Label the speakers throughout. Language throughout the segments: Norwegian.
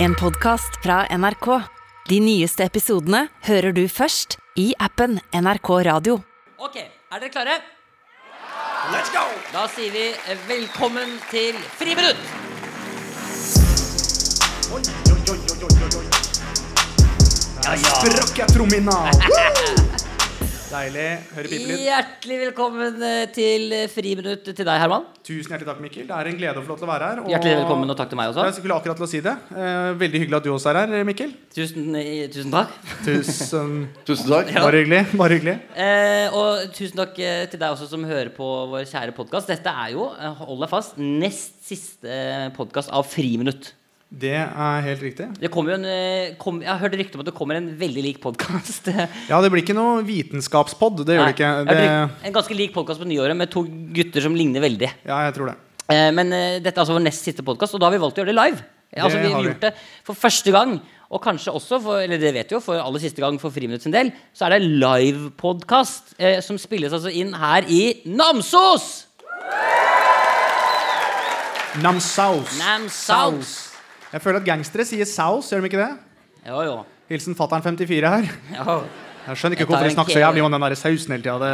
Speaker 1: En podcast fra NRK. De nyeste episodene hører du først i appen NRK Radio.
Speaker 2: Ok, er dere klare?
Speaker 3: Let's go!
Speaker 2: Da sier vi eh, velkommen til Friminutt!
Speaker 3: Oi, oi, oi, oi, oi, oi, oi. Der sprakk jeg trommehinna! Deilig. Hører pipe litt.
Speaker 2: Hjertelig velkommen eh, til eh, Friminutt til deg, Herman.
Speaker 3: Tusen hjertelig takk, Mikkel. Det er en glede og flott å være her. og-
Speaker 2: Hjertelig velkommen, og takk til meg
Speaker 3: Jeg
Speaker 2: også.
Speaker 3: skulle akkurat til å si det. Eh, Veldig hyggelig at du også er her, Mikkel.
Speaker 2: Tusen, eh, tusen takk.
Speaker 3: Tusen
Speaker 4: Tusen takk.
Speaker 2: Ja.
Speaker 3: Bare hyggelig. Bare hyggelig.
Speaker 2: Eh, og tusen takk eh, til deg også som hører på vår kjære podkast. Dette er jo, eh, hold deg fast, nest siste eh, podkast av Friminutt.
Speaker 3: Det er helt riktig.
Speaker 2: Det kommer jo en, eh, kom, jeg har hørt rykte om at det kommer en veldig lik podkast.
Speaker 3: Ja, det blir ikke noe vitenskapspod. Det gjør det ikke. Det,
Speaker 2: En ganske lik podkast på nyåret med to gutter som ligner veldig.
Speaker 3: ja, jeg tror det.
Speaker 2: Eh, Men eh, dette er altså vår nest siste podkast, og da har vi valgt å gjøre det live. Eh, Altså,
Speaker 3: Det
Speaker 2: vi
Speaker 3: har
Speaker 2: har
Speaker 3: vi.
Speaker 2: gjort det for første gang, og kanskje også for, eller det vet vi jo, for aller siste gang for Friminutt sin del, så er det livepodkast eh, som spilles altså inn her i Namsos!
Speaker 3: Namsaus.
Speaker 2: Namsaus.
Speaker 3: Jeg føler at gangstere sier saus, gjør de ikke det?
Speaker 2: Jo, jo.
Speaker 3: Hilsen fattern 54 her.
Speaker 2: Ja.
Speaker 3: Jeg skjønner ikke
Speaker 2: Jeg tar
Speaker 3: hvorfor de
Speaker 2: en
Speaker 3: snakker så
Speaker 2: ke-
Speaker 3: jævlig om den der sausen hele tida. Det...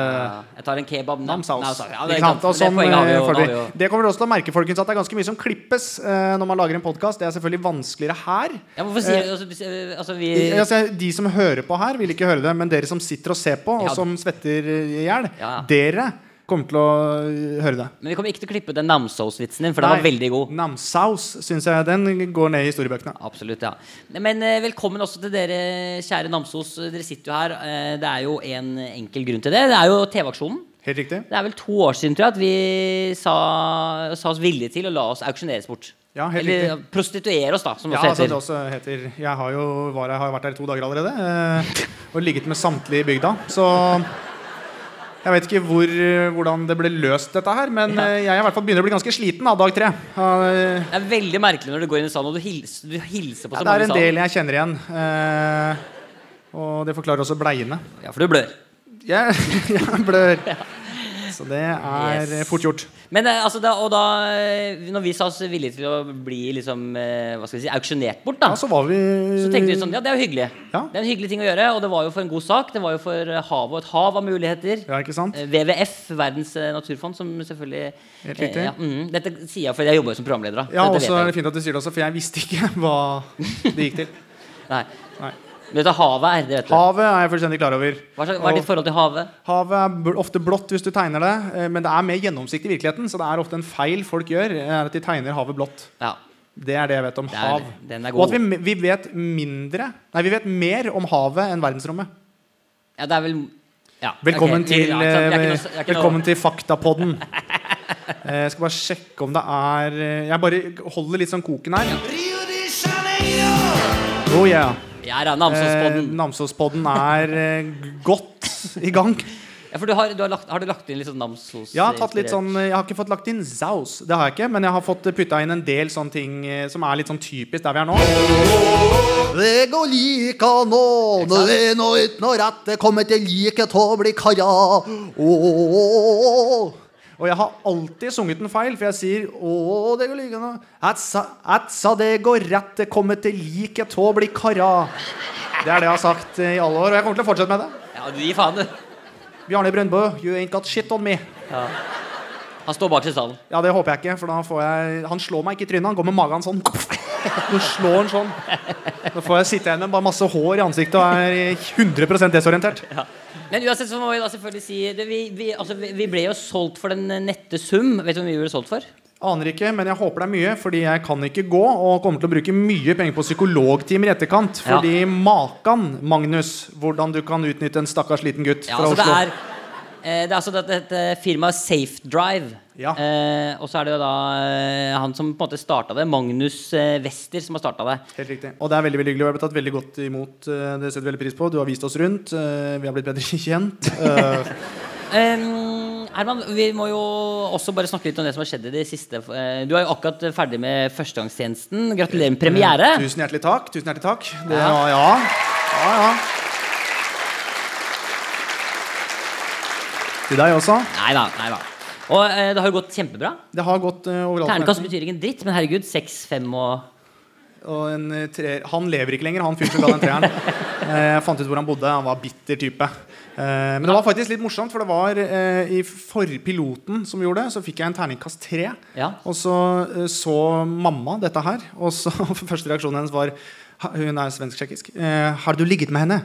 Speaker 2: Jeg tar en kebab. nam-
Speaker 3: Namsaus.
Speaker 2: namsaus. Ja, det,
Speaker 3: Ikke sant?
Speaker 2: det,
Speaker 3: Og sånn,
Speaker 2: poenget har vi jo.
Speaker 3: eh,
Speaker 2: da har
Speaker 3: følger.
Speaker 2: vi jo.
Speaker 3: det kommer du også til å merke folkens, at det er ganske mye som klippes eh, når man lager en podkast. Det er selvfølgelig vanskeligere her.
Speaker 2: Ja, hvorfor sier du altså, eh, altså, vi
Speaker 3: Eh, altså, de som hører på her, vil ikke høre det, men dere som sitter og ser på, og
Speaker 2: Ja.
Speaker 3: som svetter i hjel,
Speaker 2: Ja.
Speaker 3: dere kommer til å eh, høre det.
Speaker 2: Men vi kommer ikke til å klippe den namsaus-vitsen din, for den var
Speaker 3: Nei,
Speaker 2: veldig god.
Speaker 3: Namsaus syns jeg den går ned i historiebøkene.
Speaker 2: Absolutt, ja. Men eh, velkommen også til dere, kjære Namsos. Dere sitter jo her. Eh, det er jo en enkel grunn til det. Det er jo TV-aksjonen.
Speaker 3: Helt riktig.
Speaker 2: Det er vel to år siden tror jeg, at vi sa, sa oss villige til å la oss auksjoneres bort.
Speaker 3: Ja, helt
Speaker 2: Eller ja, prostituere oss, da, som
Speaker 3: Ja,
Speaker 2: også
Speaker 3: altså
Speaker 2: heter.
Speaker 3: det også heter Jeg har jo var, her- har vært her i to dager allerede. eh, og ligget med samtlige i bygda. Så jeg vet ikke hvor, eh, hvordan det ble løst, dette her. Men
Speaker 2: Ja.
Speaker 3: eh, jeg er i hvert fall begynner å bli ganske sliten av dag tre. Eh,
Speaker 2: det er veldig merkelig når du går inn i salen og du hilser, du hilser på så
Speaker 3: det er
Speaker 2: mange i
Speaker 3: en
Speaker 2: salen.
Speaker 3: del jeg kjenner igjen. eh, og det forklarer også bleiene.
Speaker 2: Ja, for du blør.
Speaker 3: Jeg, jeg blør. Så det er
Speaker 2: Yes.
Speaker 3: fort gjort.
Speaker 2: Men eh, altså, da, og da eh, Når vi sa oss villige til å bli liksom, eh, hva skal vi si, auksjonert bort, da,
Speaker 3: Ja, så var vi
Speaker 2: Så tenkte vi sånn, ja det er jo hyggelig
Speaker 3: Mm. Ja.
Speaker 2: Det er en hyggelig ting å gjøre, og det var jo for en god sak Det var jo for eh, havet og et hav av muligheter
Speaker 3: Ja, ikke sant?
Speaker 2: Eh, WWF, Verdens eh, naturfond Som selvfølgelig
Speaker 3: Helt riktig.
Speaker 2: eh, ja, mhm. Dette sier jeg fordi jeg jobber jo som programleder da.
Speaker 3: Ja, og
Speaker 2: Dette
Speaker 3: så er
Speaker 2: vet
Speaker 3: det fint at du sier det også, for jeg visste ikke hva det gikk til.
Speaker 2: jeg Nei.
Speaker 3: Nei.
Speaker 2: Men Dette havet er, det vet du
Speaker 3: Havet er jeg fullstendig klar over.
Speaker 2: hva, slags- hva er ditt forhold til havet?
Speaker 3: Havet er bl- ofte blått hvis du tegner det, eh, men det er mer gjennomsiktig i virkeligheten. Så det er ofte en feil folk gjør, eh, er at de tegner havet blått.
Speaker 2: Ja,
Speaker 3: Det er det jeg vet om
Speaker 2: er-
Speaker 3: hav.
Speaker 2: den er
Speaker 3: Og
Speaker 2: god.
Speaker 3: at vi, m- vi vet mindre Nei, vi vet mer om havet enn verdensrommet.
Speaker 2: ja det er vel ja,
Speaker 3: Velkommen
Speaker 2: ok.
Speaker 3: til,
Speaker 2: ja, ikke sant? Jeg er ikke
Speaker 3: eh,
Speaker 2: noe s- jeg er ikke noe-
Speaker 3: velkommen til Faktapodden. Eh, Jeg skal bare sjekke om det er eh, Jeg bare holder litt sånn koken her. Oh yeah.
Speaker 2: Jeg er av
Speaker 3: Eh,
Speaker 2: Namsåspodden
Speaker 3: Namsospodden er eh, g- godt i gang.
Speaker 2: ja, for du har, du har, lagt, har du lagt inn litt sånn Namsos
Speaker 3: Jeg har, tatt litt
Speaker 2: inspirert?
Speaker 3: sånn, jeg har ikke fått lagt inn saus, det har jeg ikke, men jeg har fått putta inn en del sånne ting eh, som er litt sånn typisk der vi er nå.
Speaker 4: Det går lika nå, når det nå ikke noe rett, det kommer til like til å bli karra. Ååå.
Speaker 3: Og jeg har alltid sunget den feil, for jeg sier
Speaker 4: Ååå, det går lika nå.
Speaker 3: Etsa, etsa det går rett, det kommer til like tå bli karra. Det er det jeg har sagt eh, i alle år, og jeg kommer til å fortsette med det.
Speaker 2: Ja, du gir faen du
Speaker 3: Bjarne Brøndbø, you ain't got shit on me.
Speaker 2: Han står bak seg i salen
Speaker 3: Ja, det håper jeg ikke, for da får jeg Han slår meg ikke i trynet, han går med magen sånn. Nå slår han sånn. Da får jeg sitte igjen med bare masse hår i ansiktet og er 100 desorientert.
Speaker 2: Men uansett så må vi da selvfølgelig si det, vi, vi, altså, vi, vi ble jo solgt for den nette sum. Vet du hvor mye vi ble solgt for?
Speaker 3: Aner ikke, men jeg håper det er mye, fordi jeg kan ikke gå og kommer til å bruke mye penger på psykologtimer i etterkant.
Speaker 2: Ja.
Speaker 3: Fordi makan, Magnus, hvordan du kan utnytte en stakkars liten gutt
Speaker 2: Ja,
Speaker 3: fra
Speaker 2: altså, det,
Speaker 3: Oslo.
Speaker 2: er, eh, det er altså dette, dette firmaet Safe Drive.
Speaker 3: Ja.
Speaker 2: Eh, og så er det jo da eh, han som på en måte starta det, Magnus eh, Wester, som har starta det.
Speaker 3: Helt riktig. Og det er veldig veldig hyggelig. og Jeg har blitt tatt veldig godt imot. eh, Det setter vi veldig pris på. Du har vist oss rundt. eh, Vi har blitt bedre kjent. Eh,
Speaker 2: Em, Herman, vi må jo også bare snakke litt om det som har skjedd i det siste. Eh, Du er jo akkurat ferdig med førstegangstjenesten. Gratulerer med premiere.
Speaker 3: Eh, Tusen hjertelig takk. Tusen hjertelig takk. Det, ja.
Speaker 2: Ja.
Speaker 3: Ja, ja, ja. Til deg også.
Speaker 2: Nei da. nei da Og eh, det har jo gått kjempebra.
Speaker 3: Det har gått eh, overalt.
Speaker 2: Ternekast betyr ikke en dritt, men herregud, seks, fem og
Speaker 3: Og en eh, treer Han lever ikke lenger, han fyren som ga den treeren. Eh, Jeg fant ut hvor han bodde. Han var bitter type. Eh, Men det var faktisk litt morsomt, for det var eh, i forpiloten som gjorde det, så fikk jeg en terningkast tre.
Speaker 2: Ja.
Speaker 3: Og så eh, så mamma dette her, og så første reaksjonen hennes var "Ha- Hun er svensk-tsjekkisk. eh, Har du ligget med henne?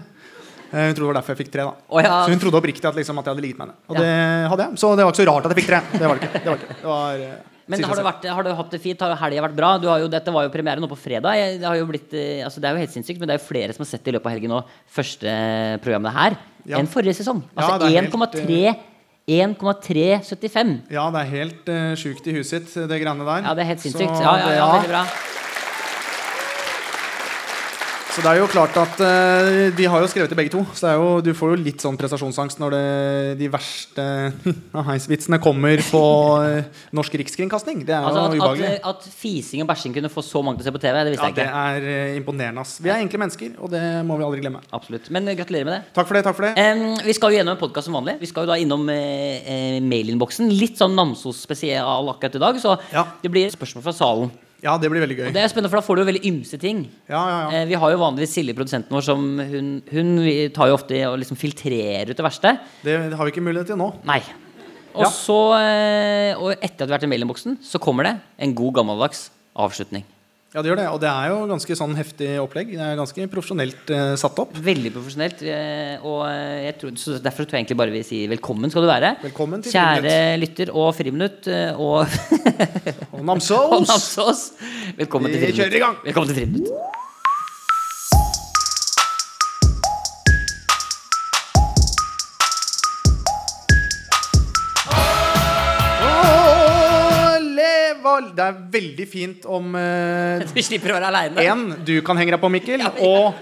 Speaker 3: Eh, Hun trodde det var derfor jeg fikk tre. da
Speaker 2: Å, ja.
Speaker 3: Så hun trodde oppriktig at, liksom, at jeg hadde ligget med henne. Og
Speaker 2: Ja.
Speaker 3: det hadde jeg. Så det var ikke så rart at jeg fikk tre. Det var det ikke. Det var ikke. Det var, eh,
Speaker 2: Men
Speaker 3: synes
Speaker 2: har du,
Speaker 3: jeg selv.
Speaker 2: vært, har du hatt det fint? Har helga vært bra? Du har jo, dette var jo premiere nå på fredag. Jeg- Det, har jo blitt, eh, altså det er jo helt sinnssykt, men det er jo flere som har sett det i løpet av helgen nå. Første programmet her
Speaker 3: Ja.
Speaker 2: enn forrige sesong.
Speaker 3: Ja,
Speaker 2: Altså
Speaker 3: det er helt,
Speaker 2: 1,3 1,375.
Speaker 3: Ja, det er helt uh, sjukt i huet sitt, det greiene der.
Speaker 2: Ja, det er helt sinnssykt.
Speaker 3: Så
Speaker 2: Ja, ja,
Speaker 3: det-
Speaker 2: ja, veldig bra.
Speaker 3: Så det er jo klart at eh, De har jo skrevet det begge to, så det er jo, du får jo litt sånn prestasjonsangst når det, de verste heisvitsene kommer på eh, norsk rikskringkasting. Det er
Speaker 2: Altså
Speaker 3: jo
Speaker 2: at,
Speaker 3: ubehagelig.
Speaker 2: at, at fising og bæsjing kunne få så mange til å se på TV, det
Speaker 3: Ja,
Speaker 2: visste jeg
Speaker 3: det
Speaker 2: ikke.
Speaker 3: er eh, imponerende. ass. Vi er enkle mennesker, og det må vi aldri glemme.
Speaker 2: Absolutt. Men eh, gratulerer med det.
Speaker 3: Takk for det. takk for det
Speaker 2: Em, vi skal jo gjennom en podkast som vanlig. Vi skal jo da innom eh, eh, mailinnboksen. Litt sånn Namsos-spesial akkurat i dag, så
Speaker 3: Ja.
Speaker 2: det blir spørsmål fra salen.
Speaker 3: Ja, det blir veldig gøy.
Speaker 2: Og det er spennende, for da får du jo veldig ymse ting.
Speaker 3: Ja, ja, ja.
Speaker 2: Eh, vi har jo vanligvis Silje, produsenten vår, som hun, hun tar jo ofte og liksom filtrerer ut det verste.
Speaker 3: Det har vi ikke mulighet til nå.
Speaker 2: Nei. Og
Speaker 3: Ja.
Speaker 2: så, eh, og etter at vi har vært i mailinnboksen, så kommer det en god gammeldags avslutning.
Speaker 3: Ja, det gjør det. Og det er jo ganske sånn heftig opplegg. Det er ganske profesjonelt eh, satt opp.
Speaker 2: Veldig profesjonelt. eh, Og eh, jeg tror, så derfor tror jeg egentlig bare vi sier velkommen skal du være.
Speaker 3: Velkommen til
Speaker 2: Kjære lytter og Friminutt eh, og
Speaker 3: Og
Speaker 2: og
Speaker 3: Namsos!
Speaker 2: Namsos. Velkommen til
Speaker 3: Vi
Speaker 2: Friminutt.
Speaker 3: kjører i gang.
Speaker 2: Velkommen til Friminutt.
Speaker 3: Åh, leval- Det er veldig fint om eh,
Speaker 2: Vi slipper å være aleine.
Speaker 3: En, du kan henge deg på, Mikkel. Og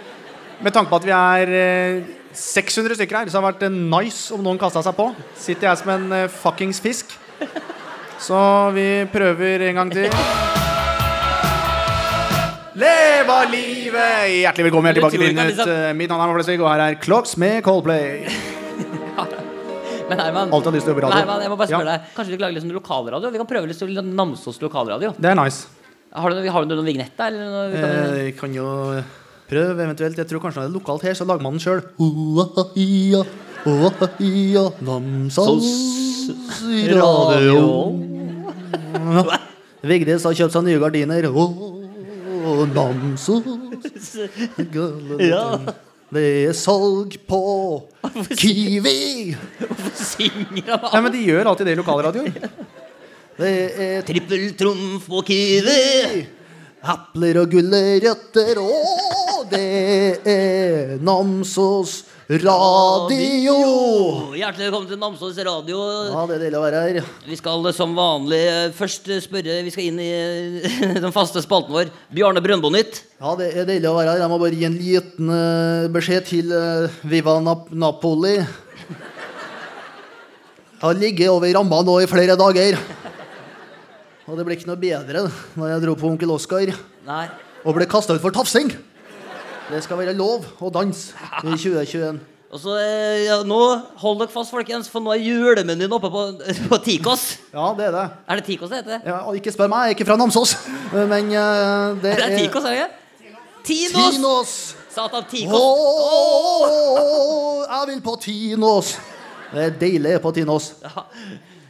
Speaker 3: med tanke på at vi er eh, 600 stykker her, så har det vært eh, nice om noen kasta seg på. Sitter jeg som en eh, fuckings fisk. Så vi prøver en gang til. Leva livet! Hjertelig velkommen
Speaker 2: Du
Speaker 3: her tilbake
Speaker 2: tror
Speaker 3: til
Speaker 2: ikke at
Speaker 3: Nytt. Eh, Mitt navn er Martin Flesvig, og her er Clocks med Coldplay.
Speaker 2: Men Herman,
Speaker 3: Alltid har lyst til å jobbe i radio.
Speaker 2: Nei, Herman, jeg må bare spørre
Speaker 3: Ja.
Speaker 2: deg Kanskje du kan lage litt sånn lokalradio? Vi kan prøve litt sånn Namsos lokalradio.
Speaker 3: Det er nice.
Speaker 2: Har du, har du noen vignett der? Eller noe, vi kan,
Speaker 3: Eh, kan jo prøve eventuelt. Jeg tror kanskje det er lokalt her, så lager man den sjøl.
Speaker 4: Oa-ia, oa-ia, Namsos radio. Vigdis har kjøpt seg nye gardiner. Åh, Namsos
Speaker 2: Ja.
Speaker 4: Det er salg på Kiwi!
Speaker 2: Hvorfor synger han
Speaker 3: Nei, men de gjør alltid det i lokalradioen.
Speaker 4: Det er
Speaker 2: Trippeltrumf og kiwi.
Speaker 4: epler og gulrøtter. Åh, det er Namsos radio!
Speaker 2: Hjertelig velkommen til Namsos radio.
Speaker 4: Ja, det er deilig å være her.
Speaker 2: Vi skal eh, som vanlig eh, først eh, spørre Vi skal inn i eh, den faste spalten vår. Bjarne Brøndbo Nytt.
Speaker 4: Ja, det er deilig å være her. Jeg må bare gi en liten eh, beskjed til eh, Viva Nap Napoli. Jeg har ligget over ramma nå i flere dager. Og det ble ikke noe bedre når jeg dro på Onkel Oskar
Speaker 2: Nei.
Speaker 4: og ble kasta ut for tafsing. Det skal være lov å danse i 2021.
Speaker 2: Og så, eh, ja, nå Hold dere fast, folkens, for nå er julemenyen oppe på, på Tikos.
Speaker 4: Ja, det er det.
Speaker 2: Er det Tikos det heter?
Speaker 4: Ja, og ikke spør meg, jeg er ikke fra Namsos. Men eh, det
Speaker 2: Det er
Speaker 4: er
Speaker 2: Tikos, er det ikke? Tinos!
Speaker 4: Tinos.
Speaker 2: Satan, Tikos.
Speaker 4: Ååå, jeg vil på Tinos. Det er deilig på Tinos.
Speaker 2: Ja.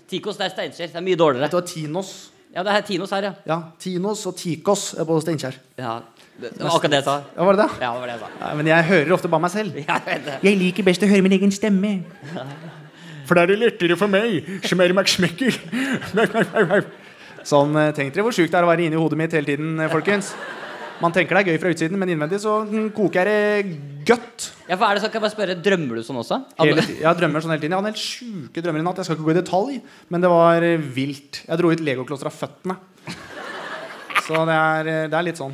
Speaker 2: Tikos, det er Steinkjer. Det er mye dårligere.
Speaker 3: Det var Tinos.
Speaker 2: Ja, det er Tinos her, ja.
Speaker 4: Ja, Tinos og Tikos er på Steinkjer.
Speaker 2: ja. Det det var akkurat det jeg sa.
Speaker 3: Ja, var det det?
Speaker 2: Ja, det var det jeg sa.
Speaker 3: Nei, men jeg hører ofte bare meg selv.
Speaker 2: Jeg vet det.
Speaker 5: Jeg liker best å høre min egen stemme. For da er det lettere for meg. Smeller meg smekker.
Speaker 3: Sånn, eh, Tenk dere hvor sjukt det er å være inni hodet mitt hele tiden, eh, folkens. Man tenker det er gøy fra utsiden, men innvendig så mm, koker jeg det godt.
Speaker 2: Ja, for er det sånn, kan jeg bare spørre, Drømmer du sånn også?
Speaker 3: Hele, ti- jeg drømmer sånn hele tiden. Jeg hadde helt sjuke drømmer i natt. Jeg skal ikke gå i detalj, men det var eh, vilt. Jeg dro ut legoklosser av føttene. Så det er, eh, det er litt sånn.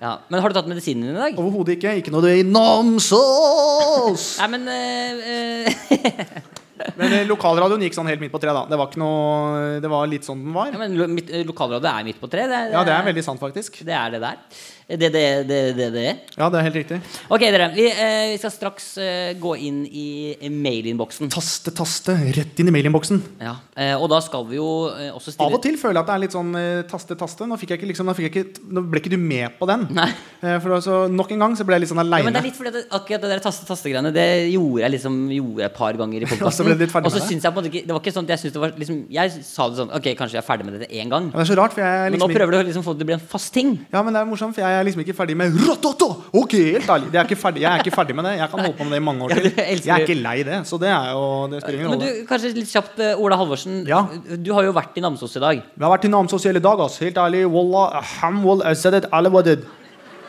Speaker 2: Ja. Men har du tatt medisinen din i dag?
Speaker 3: Overhodet ikke. ikke
Speaker 4: Når du er i Namsos
Speaker 2: Nei, men eh, eh,
Speaker 3: Men eh, lokalradioen gikk sånn helt midt på tre, da. Det var, ikke noe, det var litt sånn den var.
Speaker 2: Ja, men lo, mitt, eh, lokalradio er midt på tre. Det,
Speaker 3: Ja, det er veldig sant, faktisk.
Speaker 2: Det er det der. Det, det, det, det, det.
Speaker 3: Ja, det er helt riktig.
Speaker 2: Ok, dere. Vi, eh, vi skal straks eh, gå inn i mailinnboksen.
Speaker 3: Taste, taste, rett inn i mailinnboksen.
Speaker 2: Ja. Eh, og da skal vi jo eh, også stille
Speaker 3: Av og til føler jeg at det er litt sånn eh, taste, taste. Nå, fikk jeg ikke, liksom, nå, fikk jeg ikke, nå ble ikke du med på den.
Speaker 2: Nei.
Speaker 3: Eh, For altså, nok en gang så ble jeg litt sånn
Speaker 2: Ja, men det
Speaker 3: aleine.
Speaker 2: er litt fordi at det- akkurat det der taste-taste-greiene Det gjorde jeg liksom gjorde jeg et par ganger i
Speaker 3: Og så ble du
Speaker 2: podkasten.
Speaker 3: litt ferdig
Speaker 2: Og så
Speaker 3: med det?
Speaker 2: syns jeg på en måte ikke Det var ikke sånn at jeg syntes det var liksom Jeg sa det sånn Ok, kanskje jeg er ferdig med dette én gang.
Speaker 3: det er så rart, for jeg er
Speaker 2: Men nå
Speaker 3: liksom ikke-
Speaker 2: prøver du å liksom få det til å bli en fast ting.
Speaker 3: Ja, men det er morsomt, for jeg er liksom ikke ferdig med rototo! Ok, helt ærlig. Det er ikke ferdig. Jeg er ikke ferdig med det. Jeg kan holde på med det i mange år
Speaker 2: Ja,
Speaker 3: til.
Speaker 2: du elsker-
Speaker 3: Jeg er ikke lei det, så det er jo Det spiller ingen
Speaker 2: Men
Speaker 3: rolle.
Speaker 2: du, kanskje litt kjapt, eh, Ola Halvorsen.
Speaker 3: Ja.
Speaker 2: Du har jo vært i Namsos i dag.
Speaker 3: Vi har vært i Namsos i hele dag, ass. Helt ærlig. Wallah, ham wall, I said it, alle what did.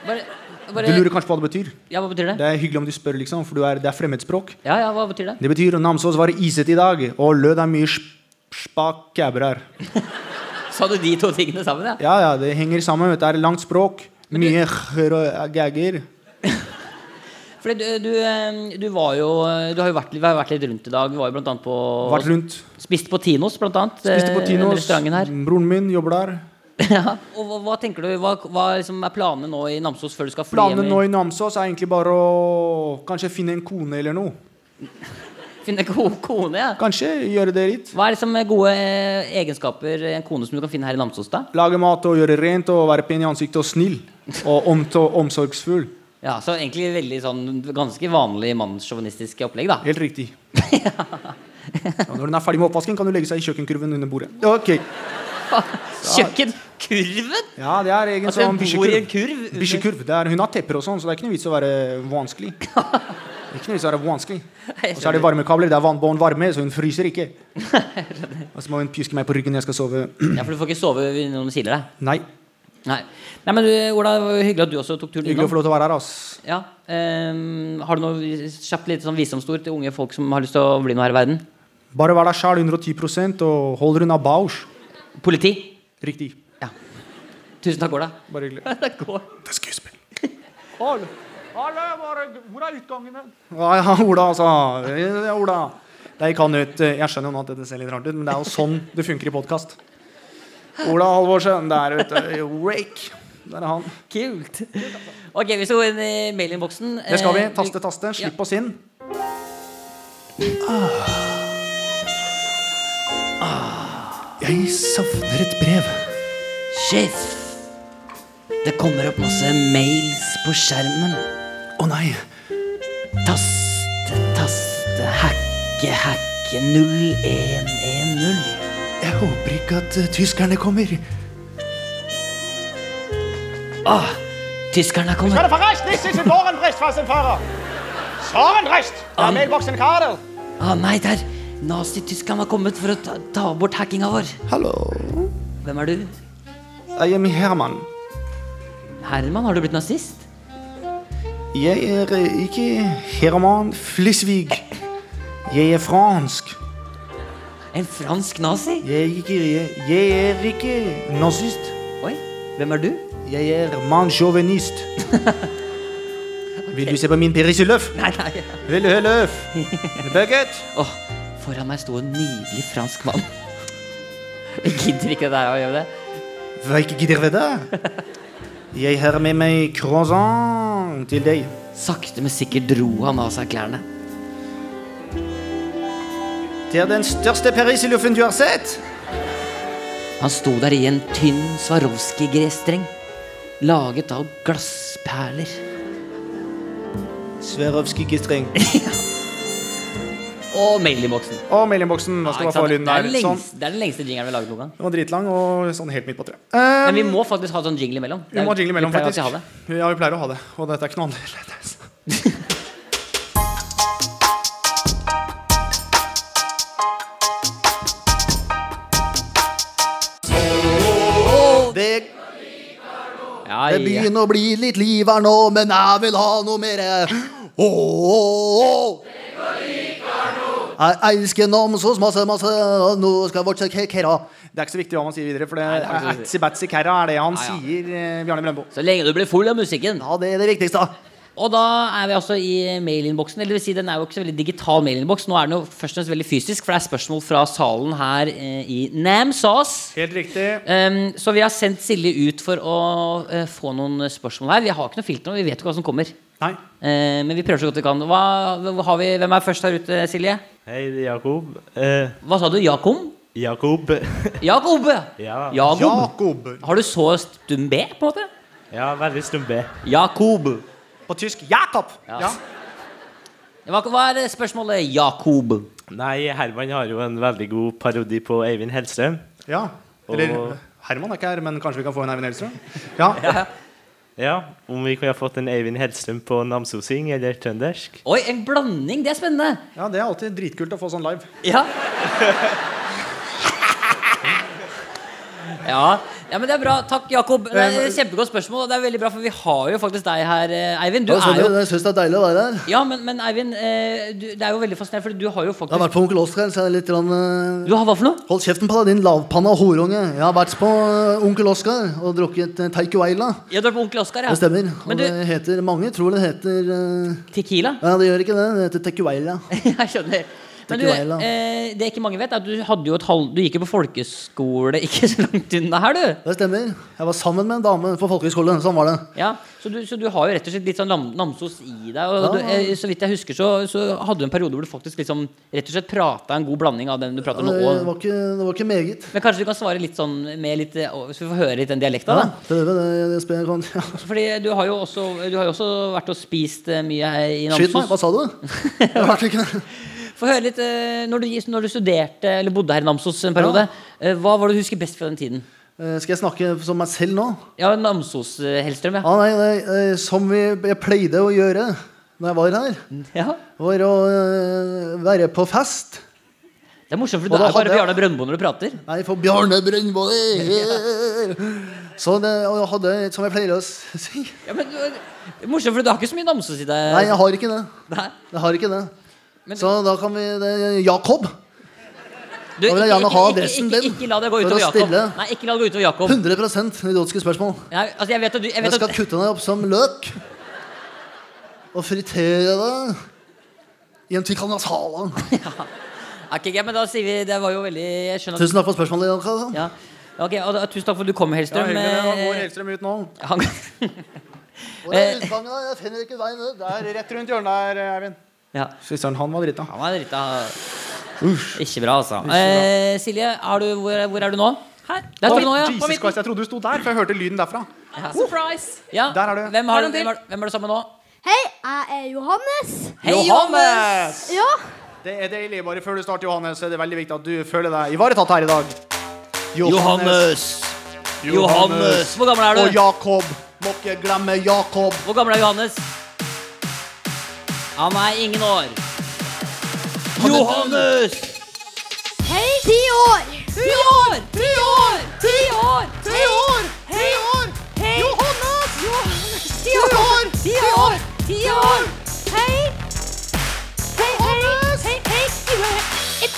Speaker 2: Bare,
Speaker 3: Du lurer
Speaker 2: bare
Speaker 3: kanskje på hva det betyr?
Speaker 2: Ja, hva betyr det?
Speaker 3: Det er hyggelig om du spør, liksom, for du er, det er fremmedspråk.
Speaker 2: Ja, ja, hva betyr det?
Speaker 3: Det betyr Namsos var iset i dag, og lød er mye spakæbrer.
Speaker 2: Sa du de to tingene sammen, ja?
Speaker 3: Ja, ja, det henger sammen. vet du. Det er langt språk. Mye gagger.
Speaker 2: Fordi du, du, eh, du var jo eh, Du har jo vært, vi har jo vært litt rundt i dag. Vi var jo blant annet på
Speaker 3: Vært rundt.
Speaker 2: Spiste på Tinos, blant annet.
Speaker 3: Spiste
Speaker 2: eh,
Speaker 3: på
Speaker 2: den
Speaker 3: Tinos.
Speaker 2: Restauranten her.
Speaker 3: Broren min jobber der.
Speaker 2: Ja, og hva, hva tenker du, hva, hva liksom er planene nå i Namsos før du skal fly
Speaker 3: Planene nå
Speaker 2: hjem?
Speaker 3: i Namsos er egentlig bare å kanskje finne en kone eller noe.
Speaker 2: i- Finne god kone, ja.
Speaker 3: Kanskje gjøre det litt.
Speaker 2: Hva er liksom gode eh, egenskaper i en kone som du kan finne her i Namsos, da?
Speaker 3: Lage mat og gjøre rent og være pen i ansiktet og snill. Og omt og omsorgsfull.
Speaker 2: Ja, så egentlig veldig sånn ganske vanlig mannssjåvinistiske opplegg, da.
Speaker 3: Helt riktig. Og når den er ferdig med oppvasken, kan du legge seg i kjøkkenkurven under bordet. Ok.
Speaker 2: Kjøkkenkurven!
Speaker 3: Ja, det er egen
Speaker 2: Altså,
Speaker 3: sånn
Speaker 2: hun bor i en kurv
Speaker 3: bikkjekurv.
Speaker 2: under-
Speaker 3: Bikkjekurv. Det er- Hun har tepper og sånn, så det er ikke noe vits å være vanskelig. Det er ikke noe vits å være vanskelig. Og så er det varmekabler. Det er vannbånd varme, så hun fryser ikke. Og så må hun pjuske meg på ryggen når jeg skal sove.
Speaker 2: Ja, for du får ikke sove når de kiler deg.
Speaker 3: Nei.
Speaker 2: Nei. Nei, men du, Ola, det var jo hyggelig at du også tok turen
Speaker 3: Hyggelig å få
Speaker 2: innom.
Speaker 3: lov til å være her, ass.
Speaker 2: Ja, ehm, har du noe kjapt litt sånn visdomsord til unge folk som har lyst til å bli noe her i verden?
Speaker 3: Bare vær deg sjæl 110 og hold deg unna Bausch.
Speaker 2: Politi?
Speaker 3: Riktig.
Speaker 2: Ja. Tusen takk, Ola.
Speaker 3: Bare hyggelig.
Speaker 2: Det går.
Speaker 3: Det er skuespill. Hvor er utgangen? Ja, ja, Ola, altså. Ja, Ola. Det gikk han ut. Jeg skjønner jo nå at dette ser litt rart ut, men det er jo sånn det funker i podkast. Ola Halvorsen. Der, vet du. Rake. Der er han.
Speaker 2: Kult. Ok, vi skal gå inn i mailinnboksen.
Speaker 3: Det skal vi.
Speaker 2: Eh,
Speaker 3: Taste, taste. Slipp oss inn.
Speaker 4: Jeg savner et brev.
Speaker 2: Sjef, det kommer opp masse mails på skjermen.
Speaker 4: Å nei.
Speaker 2: Taste, taste, hacke, hacke, 0110.
Speaker 4: Jeg håper ikke at eh, tyskerne kommer.
Speaker 2: Åh, Ah, tyskerne er kommet.
Speaker 6: Skal det forresten ikke til Dorenbrist, farsenfører? Sorenbrist! Det er mailboksen Karel.
Speaker 2: Å Ah, nei, der. Nazi-Tyskland har kommet for å ta, ta bort hackinga vår.
Speaker 3: Hallo.
Speaker 2: Hvem er du?
Speaker 3: Jeg er min Herman.
Speaker 2: Herman, har du blitt nazist?
Speaker 3: Jeg er eh, ikke Herman Flisvig. Jeg er fransk.
Speaker 2: En fransk nazi?
Speaker 3: Jeg er ikke, jeg, jeg er ikke nazist.
Speaker 2: Oi, hvem er du?
Speaker 3: Jeg er mannssjåvinist. Vil du se på min periseløf?
Speaker 2: Nei, nei.
Speaker 3: Ville hølløf? Becket?
Speaker 2: Åh, foran meg sto en nydelig fransk mann. Jeg gidder ikke det her å gjøre det.
Speaker 3: Hva ikke gidder ved det? Jeg har med meg croissant til deg.
Speaker 2: Sakte, men sikkert dro han av seg klærne.
Speaker 3: Det er den største periseløfen du har sett.
Speaker 2: Han sto der i en tynn Swarovski-gresstreng, laget av glassperler.
Speaker 3: Sverovskij gestreng.
Speaker 2: Og mailinnboksen.
Speaker 3: Og mailinnboksen. Nå
Speaker 2: Ja,
Speaker 3: skal vi få
Speaker 2: ikke sant?
Speaker 3: lyden
Speaker 2: det, er
Speaker 3: der.
Speaker 2: den
Speaker 3: Sånn.
Speaker 2: lengste- det er den lengste jingeren vi har laget noen gang.
Speaker 3: Den var dritlang og sånn helt midt på treet.
Speaker 2: Men vi
Speaker 3: Um,
Speaker 2: må faktisk ha sånn jingle imellom.
Speaker 3: vi må ha jingle imellom,
Speaker 2: Vi pleier alltid
Speaker 3: faktisk.
Speaker 2: å ha det.
Speaker 3: Ja, vi pleier å ha det. Og dette er ikke noe annerledes.
Speaker 4: Det,
Speaker 2: Ja,
Speaker 4: det
Speaker 2: ja.
Speaker 4: begynner å bli litt liv her nå, men jeg vil ha noe mer. Å, å, å. Jeg elsker Namsos masse, masse. og Nå skal jeg vårt kekera.
Speaker 3: Det er ikke så viktig hva man sier videre, for det
Speaker 2: det er ikke så
Speaker 3: er
Speaker 2: viktig.
Speaker 3: atsi-batsi-kerra er det han
Speaker 2: Ja, ja.
Speaker 3: sier, eh, Bjarne Brøndbo.
Speaker 2: Så lenge du blir full av musikken.
Speaker 4: Ja, det er det viktigste.
Speaker 2: Og da er vi altså i mailinnboksen. Eller det vil si, den er jo ikke så veldig digital mailinnboks. Nå er den jo først og fremst veldig fysisk, for det er spørsmål fra salen her eh, i Namsos.
Speaker 5: Helt riktig.
Speaker 2: Um, så vi har sendt Silje ut for å eh, få noen spørsmål her. Vi har ikke noe filter nå, vi vet jo hva som kommer.
Speaker 5: Nei.
Speaker 2: Eh, men vi prøver så godt vi kan. Hva, hva har vi, hvem er først her ute, Silje?
Speaker 7: Hei, det er Jakob. Eh,
Speaker 2: Hva sa du? Jakob?
Speaker 7: Jakob.
Speaker 2: Jakob!
Speaker 7: Ja.
Speaker 2: Jakob.
Speaker 5: Jakob.
Speaker 2: Har du så stum B, på en måte?
Speaker 7: ja, veldig stum B.
Speaker 2: Jakob.
Speaker 5: På tysk Jakob.
Speaker 2: Ja.
Speaker 5: Ja.
Speaker 2: Hva, hva er spørsmålet, Jakob?
Speaker 7: Nei, Herman har jo en veldig god parodi på Eivind Hellstrøm.
Speaker 5: ja. Eller
Speaker 7: Og-
Speaker 5: Herman er ikke her, men kanskje vi kan få en Eivind Hellstrøm? Ja.
Speaker 7: Ja, om vi kunne ha fått en Eivind Hellstrøm på namsosing eller trøndersk.
Speaker 2: Oi, en blanding! Det er spennende.
Speaker 5: ja, det er alltid dritkult å få sånn live.
Speaker 2: Ja. ja. ja, men det er bra. Takk, Jakob. Det er et Kjempegodt spørsmål. og Det er veldig bra, for vi har jo faktisk deg her, eh, Eivind. Du
Speaker 3: Ja, sånn,
Speaker 2: er jo
Speaker 3: jeg syns det er deilig å være her.
Speaker 2: Ja, men, men Eivind, eh, du, det er jo veldig fascinerende, for du har jo
Speaker 3: Jeg har
Speaker 2: faktisk
Speaker 3: vært på Onkel Oskar, så jeg er litt grann, eh,
Speaker 2: Du har hva for noe?
Speaker 3: Hold kjeften på deg, din lavpanna horunge. Jeg har vært på eh, Onkel Oskar og drukket eh, teikueila.
Speaker 2: Ja, du er på Onkel Oskar, ja.
Speaker 3: Det stemmer.
Speaker 2: Men
Speaker 3: Og
Speaker 2: du,
Speaker 3: det heter Mange tror det heter eh,
Speaker 2: Tequila?
Speaker 3: Ja, det gjør ikke det. Det heter teikueila.
Speaker 2: Jeg skjønner. Men du,
Speaker 3: Tequila.
Speaker 2: eh, det ikke mange vet, er at du hadde jo et halv... Du gikk jo på folkeskole ikke så langt unna her, du.
Speaker 3: Det stemmer. Jeg var sammen med en dame på folkehøyskole. Sånn var det.
Speaker 2: Ja, så du, så du har jo rett og slett litt sånn lam, Namsos i deg. Og
Speaker 3: Ja.
Speaker 2: du, eh, så vidt jeg husker, så, så hadde du en periode hvor du faktisk liksom rett og slett prata en god blanding av den du prater
Speaker 3: Det
Speaker 2: nå og
Speaker 3: var ikke, det var ikke meget.
Speaker 2: Men kanskje du kan svare litt sånn med litt eh, Så vi får høre litt den dialekta,
Speaker 3: Ja,
Speaker 2: da.
Speaker 3: prøve det. Jeg spør, jeg kan, ja.
Speaker 2: Fordi du har jo også, du har jo også vært og spist eh, mye her i
Speaker 3: Skyt meg.
Speaker 2: Namsos.
Speaker 3: Hva sa du? Jeg hørte ikke det.
Speaker 2: Få høre litt, eh, når du, når du studerte eller bodde her i Namsos en periode, eh, hva var det du husker best fra den tiden?
Speaker 3: Eh, Skal jeg snakke som meg selv nå?
Speaker 2: Ja, Namsos eh, Hellstrøm, ja.
Speaker 3: Ja, nei, nei, eh, Som vi, jeg pleide å gjøre da jeg var her,
Speaker 2: ja.
Speaker 3: var å eh, være på fest.
Speaker 2: Det er morsomt, for
Speaker 3: Og
Speaker 2: du er
Speaker 3: da
Speaker 2: bare
Speaker 3: hadde jeg-
Speaker 2: Bjarne Brøndbo når du prater.
Speaker 3: Nei, for Bjarne Brøndbo er her. Så det, og jeg hadde, som jeg pleier å si
Speaker 2: Ja, men du, det er morsomt, for du har ikke så mye Namsos i deg.
Speaker 3: Nei, jeg har ikke det.
Speaker 2: Nei.
Speaker 3: Jeg har ikke det.
Speaker 2: Men-
Speaker 3: Så da kan vi det, Jakob.
Speaker 2: Du,
Speaker 3: Da vil jeg
Speaker 2: ikke-
Speaker 3: gjerne ha
Speaker 2: ikke- ikke-
Speaker 3: adressen
Speaker 2: ikke-
Speaker 3: din
Speaker 2: Ikke la det gå
Speaker 3: for
Speaker 2: utover
Speaker 3: å
Speaker 2: Jakob.
Speaker 3: stille.
Speaker 2: Nei, ikke la det gå utover Jakob.
Speaker 3: 100 idiotiske spørsmål.
Speaker 2: Nei, altså, jeg vet at du jeg
Speaker 3: Jeg
Speaker 2: vet
Speaker 3: skal
Speaker 2: at,
Speaker 3: kutte deg opp som løk og fritere deg i en tikkanasala.
Speaker 2: Ok, ja, men da sier vi Det var jo veldig Jeg skjønner at
Speaker 3: Tusen takk for spørsmålet. Jakob.
Speaker 2: ja. Ok, og da, Tusen takk for at du kom,
Speaker 5: Ja,
Speaker 2: Hellstrøm.
Speaker 5: hyggelig. det. Nå går
Speaker 2: Eh,
Speaker 5: Hellstrøm ut nå.
Speaker 2: han-
Speaker 3: Hvor er utgangen? da? Jeg finner ikke veien ut. Der.
Speaker 5: Det er rett rundt hjørnet her, Eivind.
Speaker 2: ja.
Speaker 5: Fy søren, han var drita.
Speaker 2: Han var drita Ikke bra, altså. Eh, Silje, er du, hvor, hvor er du nå? Her. Der står du nå, ja.
Speaker 5: Jesus Christ, jeg trodde du sto der, for jeg hørte lyden derfra.
Speaker 8: Surprise!
Speaker 2: ja.
Speaker 5: Der er du.
Speaker 2: Hvem, har,
Speaker 8: Her er
Speaker 2: du-
Speaker 8: den til.
Speaker 2: hvem, er, hvem er du sammen med nå?
Speaker 9: Hei, jeg er Johannes.
Speaker 2: Hei,
Speaker 9: Ja,
Speaker 5: Det er deilig. Bare før du starter, Johannes, så er det veldig viktig at du føler deg ivaretatt her i dag.
Speaker 2: Johannes! Hvor gammel er
Speaker 3: Og
Speaker 2: du?
Speaker 3: Jakob. Må ikke glemme Jakob.
Speaker 2: Hvor gammel er Johannes? Han er ingen år. Johannes!
Speaker 9: hei. Ti år.
Speaker 8: Ti år! Ti år! Ti år! Ti år! Ti år! Hei! Johannes! Ti år! Ti år! Ti år! Hei! Hei, hei! Hei, hei!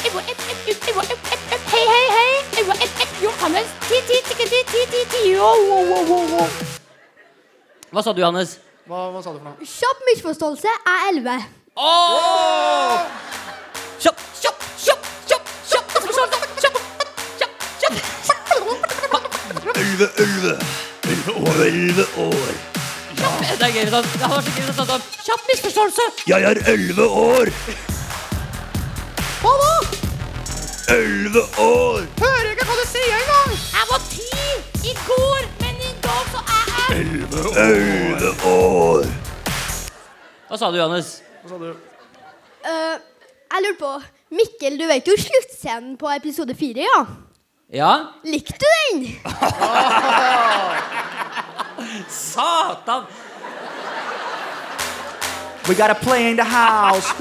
Speaker 8: Jeg var et, jeg var et, et, et, jeg var et, et, et, hei, hei, hei! Jeg var et, et, Johannes! Ti, ti, ti, ti, ti, ti, ti, wow, wow, wow, wow, wow.
Speaker 2: Hva sa du, Johannes?
Speaker 5: Hva, hva sa du for noe?
Speaker 9: Kjapp misforståelse er 11.
Speaker 2: Åh! Kjapp, kjapp, kjapp, kjapp, kjapp, kjapp, kjapp, kjapp, kjapp, kjapp, kjapp. Det er gøy, sånn. Det var så gøy, sånn, sånn. Kjapp misforståelse.
Speaker 8: Jeg var ti i går, men i dag så er jeg
Speaker 2: Hva sa du, Johannes?
Speaker 5: Hva sa du?
Speaker 9: Eh, jeg lurer på Mikkel, du vet jo sluttscenen på episode 4, ja?
Speaker 2: Ja?
Speaker 9: Likte du den?
Speaker 2: Satan!
Speaker 5: We got a play in the house.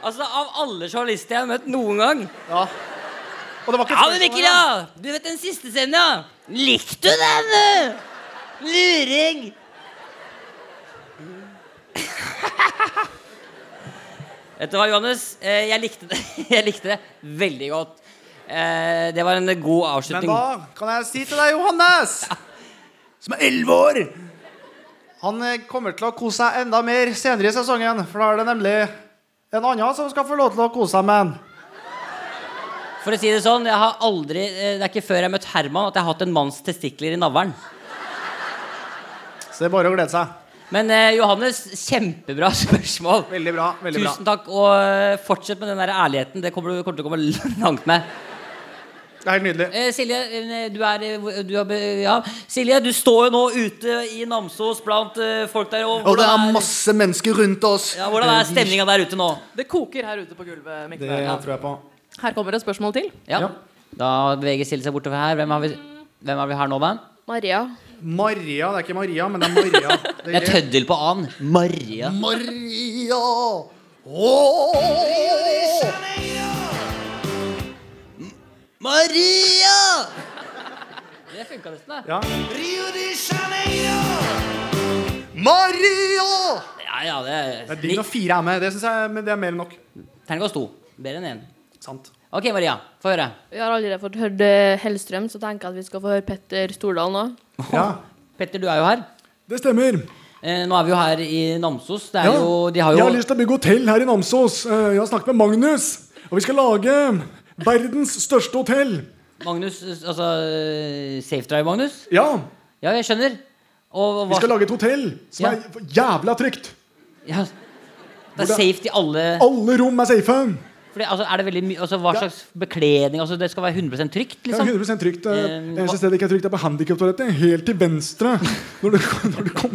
Speaker 2: Altså, av alle journalister jeg har møtt noen gang
Speaker 5: Og det var ikke
Speaker 2: Ja, men Mikkel, ja! Du vet den siste scenen, ja? Likte du den, du? Luring! vet du hva, Johannes? Eh, Jeg likte det, jeg likte det veldig godt. Eh, Det var en god
Speaker 5: Men
Speaker 2: avslutning.
Speaker 5: da kan jeg si til deg, Johannes,
Speaker 3: som er elleve år.
Speaker 5: Han eh, kommer til å kose seg enda mer senere i sesongen, for da er det nemlig en annen som skal få lov til å kose seg med han.
Speaker 2: For å si det sånn, jeg har aldri eh, Det er ikke før jeg har møtt Herman at jeg har hatt en manns testikler i navlen.
Speaker 5: Så det er bare å glede seg.
Speaker 2: Men eh, Johannes, kjempebra spørsmål.
Speaker 5: Veldig bra. veldig bra.
Speaker 2: Tusen takk, og eh, fortsett med den der ærligheten. Det kommer du kommer til å komme langt med.
Speaker 5: Det er helt nydelig.
Speaker 2: Eh, Silje, eh, du er eh, hvor- du har, be- ja. Silje, du står jo nå ute i Namsos blant eh, folk der. Og,
Speaker 3: Og det
Speaker 2: hvordan
Speaker 3: er masse mennesker rundt oss.
Speaker 2: ja, hvordan er stemninga der ute nå?
Speaker 10: Det koker her ute på gulvet. Mikkel.
Speaker 5: Det tror jeg på.
Speaker 10: Her kommer et spørsmål til.
Speaker 2: Ja.
Speaker 5: Ja.
Speaker 2: Da beveger Silje seg bortover her. Hvem har vi, hvem har vi her nå, da?
Speaker 10: Maria.
Speaker 5: Maria. Det er ikke Maria, men det er Maria. Det
Speaker 2: Det er tøddel på A-en. Maria.
Speaker 3: Maria. Åh.
Speaker 2: Maria! Det funka nesten, da.
Speaker 5: Ja.
Speaker 3: Maria!
Speaker 2: Ja, ja, det
Speaker 5: Det er digg når fire er med. Det synes jeg men det er mer enn nok.
Speaker 2: Terningkast to. Bedre enn én.
Speaker 5: Sant.
Speaker 2: Ok, Maria. Få høre.
Speaker 11: Vi har allerede fått hørt eh, Hellstrøm, så tenker jeg at vi skal få høre Petter Stordal nå.
Speaker 5: Ja.
Speaker 2: Petter, du er jo her.
Speaker 12: Det stemmer.
Speaker 2: Eh, nå er vi jo her i Namsos. Det er
Speaker 12: Ja,
Speaker 2: jo, de har
Speaker 12: Jeg
Speaker 2: jo
Speaker 12: har lyst til å bygge hotell her i Namsos. Eh, Jeg har snakket med Magnus, og vi skal lage verdens største hotell.
Speaker 2: Magnus, eh, altså eh, Safe Drive, Magnus?
Speaker 12: Ja,
Speaker 2: Ja, jeg skjønner. Og, og
Speaker 12: vi
Speaker 2: hva
Speaker 12: skal lage et hotell som
Speaker 2: Ja.
Speaker 12: er jævla trygt.
Speaker 2: ja, Det er safe i alle
Speaker 12: Alle rom er safe.
Speaker 2: fordi, altså, Er det veldig mye altså, Hva
Speaker 12: Ja.
Speaker 2: slags bekledning altså, Det skal være 100 trygt,
Speaker 12: Det er
Speaker 2: liksom?
Speaker 12: 100 trygt. Det
Speaker 2: Eh, hva-
Speaker 12: eneste stedet det ikke er trygt, er på handikaptoalettet. Helt til venstre når du, når, du kom,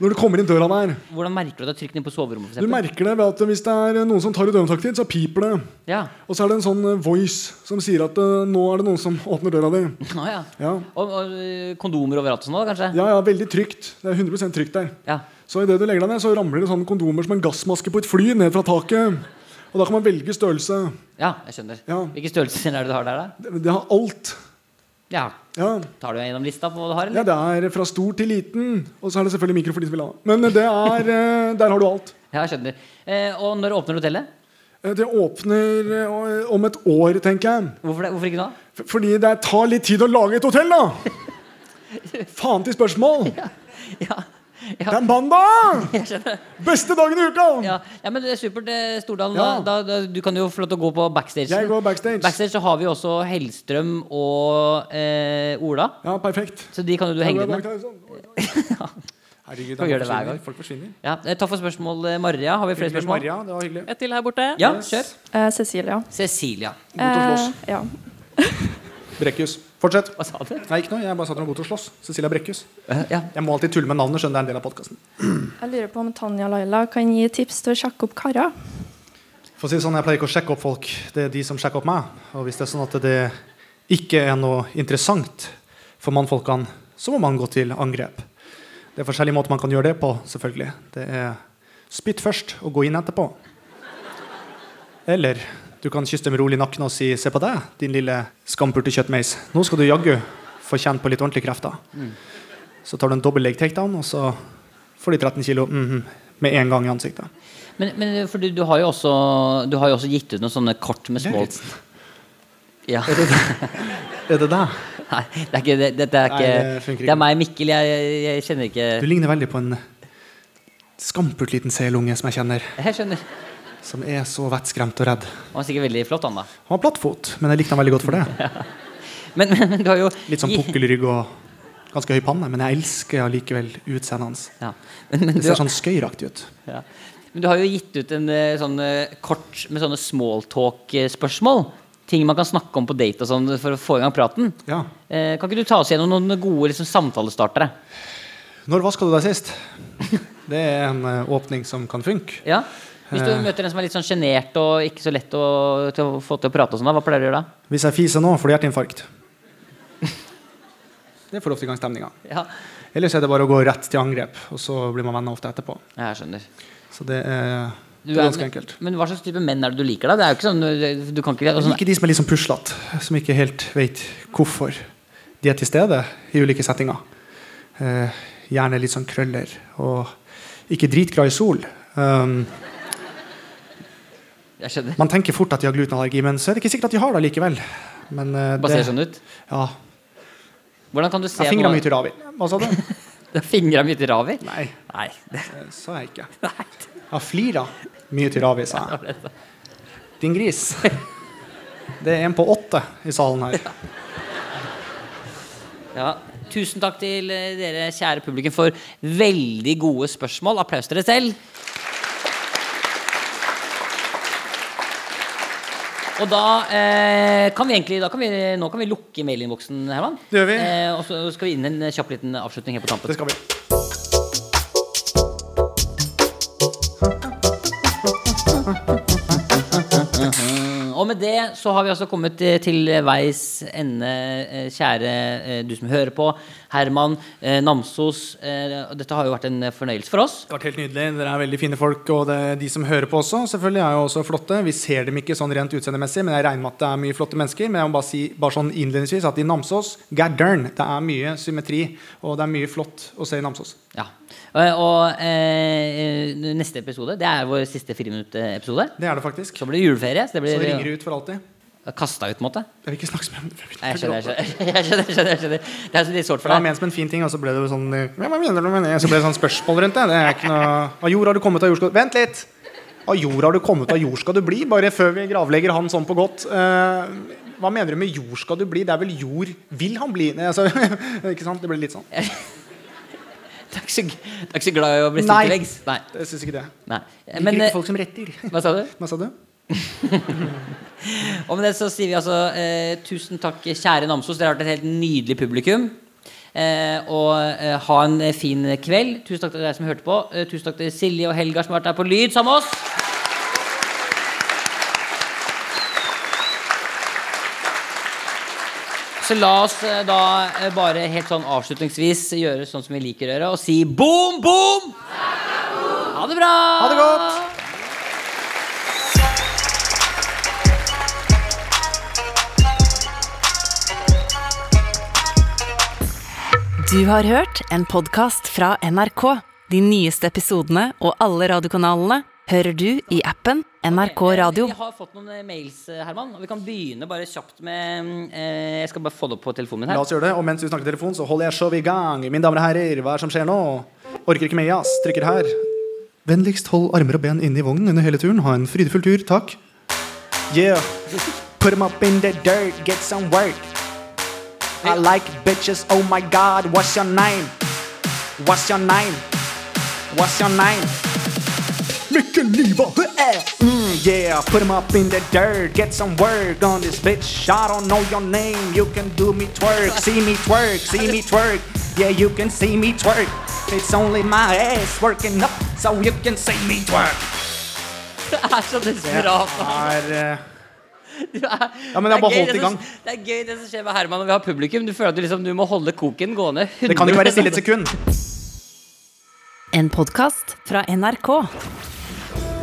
Speaker 12: når du kommer inn døra der.
Speaker 2: Hvordan merker du at det er trygt inne på soverommet? For
Speaker 12: Du
Speaker 2: eksempel?
Speaker 12: merker det ved at hvis det er noen som tar ut dørhåndtaket ditt, så piper det.
Speaker 2: ja.
Speaker 12: Og så er det en sånn eh, voice som sier at eh, nå er det noen som åpner døra di.
Speaker 2: Nå, ja.
Speaker 12: Ja.
Speaker 2: Og, og eh, kondomer overalt og sånn òg, kanskje?
Speaker 12: ja, ja, veldig trygt. Det er 100 trygt der.
Speaker 2: Ja.
Speaker 12: Så idet du legger deg ned, så ramler det sånne kondomer som en gassmaske på et fly ned fra taket. Og da kan man velge størrelse.
Speaker 2: ja, jeg skjønner.
Speaker 12: Ja.
Speaker 2: Hvilke størrelser er det du har der, da?
Speaker 12: Det, det har alt.
Speaker 2: Ja.
Speaker 12: Ja.
Speaker 2: Tar du gjennom lista på hva du har,
Speaker 12: ja,
Speaker 2: eller?
Speaker 12: det er fra stor til liten. Og så er det selvfølgelig mikro for de som vil ha det. Men det er eh, Der har du alt.
Speaker 2: Ja, jeg skjønner. Eh, og når åpner hotellet?
Speaker 12: Eh, Det åpner eh, om et år, tenker jeg.
Speaker 2: Hvorfor, det? Hvorfor ikke nå?
Speaker 12: F- Fordi det tar litt tid å lage et hotell, da! Faen til spørsmål!
Speaker 2: Ja.
Speaker 12: Det er mandag! Beste dagen i uka!
Speaker 2: Ja. ja, men det er supert, eh, Stordalen.
Speaker 12: Ja.
Speaker 2: Da, da, du kan jo få lov til å gå på backstage.
Speaker 12: Jeg går backstage.
Speaker 2: Backstage så har vi også Hellstrøm og eh, Ola.
Speaker 12: Ja, perfekt. sånn.
Speaker 2: Så de kan jo du henge litt med.
Speaker 12: Herregud,
Speaker 2: Kan gjøre det hver gang.
Speaker 12: folk forsvinner.
Speaker 2: Ja, eh, Takk for spørsmål, eh, Maria. Har vi flere
Speaker 5: Hyggelig,
Speaker 2: spørsmål?
Speaker 5: Maria, det var hyggelig.
Speaker 10: Et til her borte.
Speaker 2: Ja, kjør.
Speaker 11: Eh, Cecilia.
Speaker 2: Cecilia.
Speaker 5: God til å
Speaker 2: eh,
Speaker 5: slåss.
Speaker 11: Eh, ja.
Speaker 5: Brekkhus. Fortsett.
Speaker 2: Hva sa du?
Speaker 5: Nei, ikke noe. Jeg bare sa at hun var god til å slåss. Cecilia Brekkhus.
Speaker 2: Ja.
Speaker 5: Jeg må alltid tulle med navnet, skjønner det er en del av podkasten.
Speaker 11: Jeg lurer på om Tanja Laila kan gi tips til å sjekke opp karer.
Speaker 5: For å si det sånn, jeg pleier ikke å sjekke opp folk. Det er de som sjekker opp meg. Og hvis det er sånn at det ikke er noe interessant for mannfolkene, så må man gå til angrep. Det er forskjellige måter man kan gjøre det på, selvfølgelig. Det er spytt først og gå inn etterpå. Eller du kan kysse dem rolig i nakken og si 'se på deg, din lille skampulte kjøttmeis'. Nå skal du jaggu få kjent på litt ordentlige krefter. Så tar du en dobbel leg takedown, og så får de 13 kilo mhm, med en gang i ansiktet.
Speaker 2: Men, men eh, for du, du, har jo også, du har jo også gitt ut noen sånne kort med små ja.
Speaker 5: Er det deg?
Speaker 2: Nei, det er ikke, det, dette er
Speaker 5: Nei,
Speaker 2: ikke,
Speaker 5: det funker
Speaker 2: Det
Speaker 5: ikke.
Speaker 2: er meg, Mikkel. Jeg, jeg, jeg kjenner ikke
Speaker 5: Du ligner veldig på en skampult liten selunge som jeg kjenner,
Speaker 2: Jeg skjønner.
Speaker 5: som er så vettskremt og redd.
Speaker 2: Han var sikkert veldig flott, han da.
Speaker 5: Han har plattfot, men jeg likte han veldig godt for det.
Speaker 2: Men, men du har jo
Speaker 5: Litt sånn
Speaker 2: gi-
Speaker 5: pukkelrygg og ganske høy panne, men jeg elsker allikevel utseendet hans.
Speaker 2: Ja. Men, men,
Speaker 5: Det sånn-
Speaker 2: du,
Speaker 5: ser sånn skøyeraktig ut.
Speaker 2: ja. men du har jo gitt ut en eh, sånn eh, kort med sånne smalltalk-spørsmål. Ting man kan snakke om på date og sånn for å få i gang praten.
Speaker 5: Ja.
Speaker 2: Eh, kan ikke du ta oss gjennom noen gode liksom, samtalestartere?
Speaker 5: Når vaska du deg sist? Det er en eh, åpning som kan funke.
Speaker 2: Ja? Hvis du
Speaker 5: Eh.
Speaker 2: møter en som er litt sånn sjenert og ikke så lett å, til å få til å prate, og sånn, da, hva pleier du å gjøre da?
Speaker 5: Hvis jeg fiser nå, får du hjerteinfarkt. Det får ofte i gang stemninga.
Speaker 2: Ja.
Speaker 5: Ellers er det bare å gå rett til angrep, og så blir man venner ofte etterpå.
Speaker 2: Jeg skjønner.
Speaker 5: Så det er,
Speaker 2: Du
Speaker 5: det er
Speaker 2: er-
Speaker 5: ganske enkelt.
Speaker 2: Men hva slags type menn er det du liker, da? Det er jo ikke sånn, du kan ikke,
Speaker 5: Jeg
Speaker 2: sånn
Speaker 5: liker de som er litt sånn puslete, som ikke helt vet hvorfor de er til stede i ulike settinger. Eh, gjerne litt sånn krøller og ikke dritglad i sol. Um,
Speaker 2: Jeg skjønner.
Speaker 5: man tenker fort at de har
Speaker 2: sånn,
Speaker 5: glutenallergi, men så er det ikke sikkert at de har det likevel. Men, eh,
Speaker 2: Bare ser
Speaker 5: det,
Speaker 2: sånn ut.
Speaker 5: ja.
Speaker 2: Hvordan kan du se
Speaker 5: Jeg fingra
Speaker 2: noe-
Speaker 5: mye til Ravi. Hva sa du?
Speaker 2: Du har fingra mye til Ravi?
Speaker 5: Nei.
Speaker 2: Nei.
Speaker 5: Det sa jeg ikke. Jeg har flira mye til Ravi, sa jeg. Din gris. Det er en på åtte i salen her.
Speaker 2: Ja. Tusen takk til eh, dere kjære publikum for veldig gode spørsmål. Applaus til dere selv. Og da eh, kan vi egentlig da kan vi, Nå kan vi lukke mailinnboksen, Herman.
Speaker 5: Det gjør vi.
Speaker 2: Eh, og så skal vi inn en kjapp liten avslutning helt på tampen.
Speaker 5: Det skal vi.
Speaker 2: Og med det så har vi altså kommet eh, til veis ende, eh, kjære eh, du som hører på. Herman, eh, Namsos. eh, og Dette har jo vært en eh, fornøyelse for oss.
Speaker 5: Det har vært helt nydelig. Dere er veldig fine folk. Og det, de som hører på også, selvfølgelig er jo også flotte. Vi ser dem ikke sånn rent utseendemessig, men jeg regner med at det er mye flotte mennesker. Men jeg må bare si bare sånn innledningsvis at i Namsos god darn, det er mye symmetri, og det er mye flott å se i Namsos.
Speaker 2: Ja. Eh, Og eh, eh, neste episode Det er vår siste friminuttepisode.
Speaker 5: Det er det faktisk.
Speaker 2: Så blir det juleferie. Så det
Speaker 5: Så
Speaker 2: blir
Speaker 5: ringer det ut for alltid.
Speaker 2: kasta ut, på en måte.
Speaker 5: Jeg vil ikke snakke med dem.
Speaker 2: Nei, Jeg skjønner, jeg skjønner. Jeg skjønner, jeg skjønner, jeg skjønner. Det er så litt sårt
Speaker 5: Det
Speaker 2: for
Speaker 5: var
Speaker 2: deg.
Speaker 5: ment som en fin ting, og så ble det jo sånn eh, «Ja, Hva mener du med det? Så ble det sånn spørsmål rundt det. det er ikke noe... Av jord har du kommet, av jord skal du Vent litt! Av jord har du kommet, av jord skal du bli. Bare før vi gravlegger han sånn på godt. Eh, hva mener du med jord skal du bli? Det er vel jord vil han bli? Nei, altså, ikke sant? Det ble litt sånn.
Speaker 2: Du er ikke så, du er ikke så glad i å bli stilt
Speaker 5: Nei.
Speaker 2: til veggs? Nei.
Speaker 5: Jeg syns ikke det.
Speaker 2: Nei. Eh,
Speaker 5: Liker
Speaker 2: eh,
Speaker 5: ikke folk som retter.
Speaker 2: Hva sa du?
Speaker 5: Hva sa du?
Speaker 2: Og med det så sier vi altså eh, tusen takk, kjære Namsos. Dere har vært et helt nydelig publikum. Eh, og eh, ha en eh, fin kveld. Tusen takk til deg som hørte på. Eh, tusen takk til Silje og Helga som har vært her på lyd sammen med oss. Så la oss eh, da eh, bare helt sånn avslutningsvis gjøre sånn som vi liker å gjøre, og si boom, boom! Ha det bra!
Speaker 13: Ha det godt!
Speaker 1: Du har hørt en podkast fra NRK. De nyeste episodene og alle radiokanalene hører du i appen NRK Radio.
Speaker 2: Vi har fått noen eh, mails, eh, Herman. Og vi kan begynne bare kjapt med mm, eh, Jeg skal bare få det opp på telefonen min her.
Speaker 5: La oss gjøre det. Og mens du snakker telefon, så holder jeg showet i gang. Mine damer og herrer, hva er det som skjer nå? Orker ikke mer jazz. Trykker her. Vennligst hold armer og ben inne i vognen under hele turen. Ha en frydefull tur. Takk. Yeah. Put 'em up in the dirt. Get some work. I like bitches. Oh my god. What's your name? What's your name? What's your name? Mikkel Niva. Eh, Mm, yeah, put him up in the dirt. Get some work on this bitch. I don't know your name. You can do me twerk. See me twerk. See me twerk. Yeah, you can see me twerk. It's only my ass working up, so you can see me twerk.
Speaker 2: Det er så desperat.
Speaker 5: Ja, men jeg har bare holdt
Speaker 2: det
Speaker 5: i gang.
Speaker 2: Som, det er gøy det som skjer med Herman når vi har publikum. Du føler at du liksom du må holde koken gående.
Speaker 5: Det kan ikke være stille et sekund.
Speaker 1: En podkast fra NRK.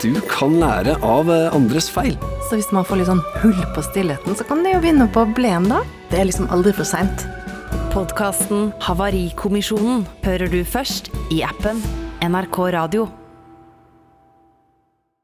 Speaker 14: Du kan lære av eh, andres feil.
Speaker 15: Så hvis man får litt sånn hull på stillheten, så kan det jo begynne på bleen da. Det er liksom aldri for seint.
Speaker 1: Podkasten Havarikommisjonen hører du først i appen NRK Radio.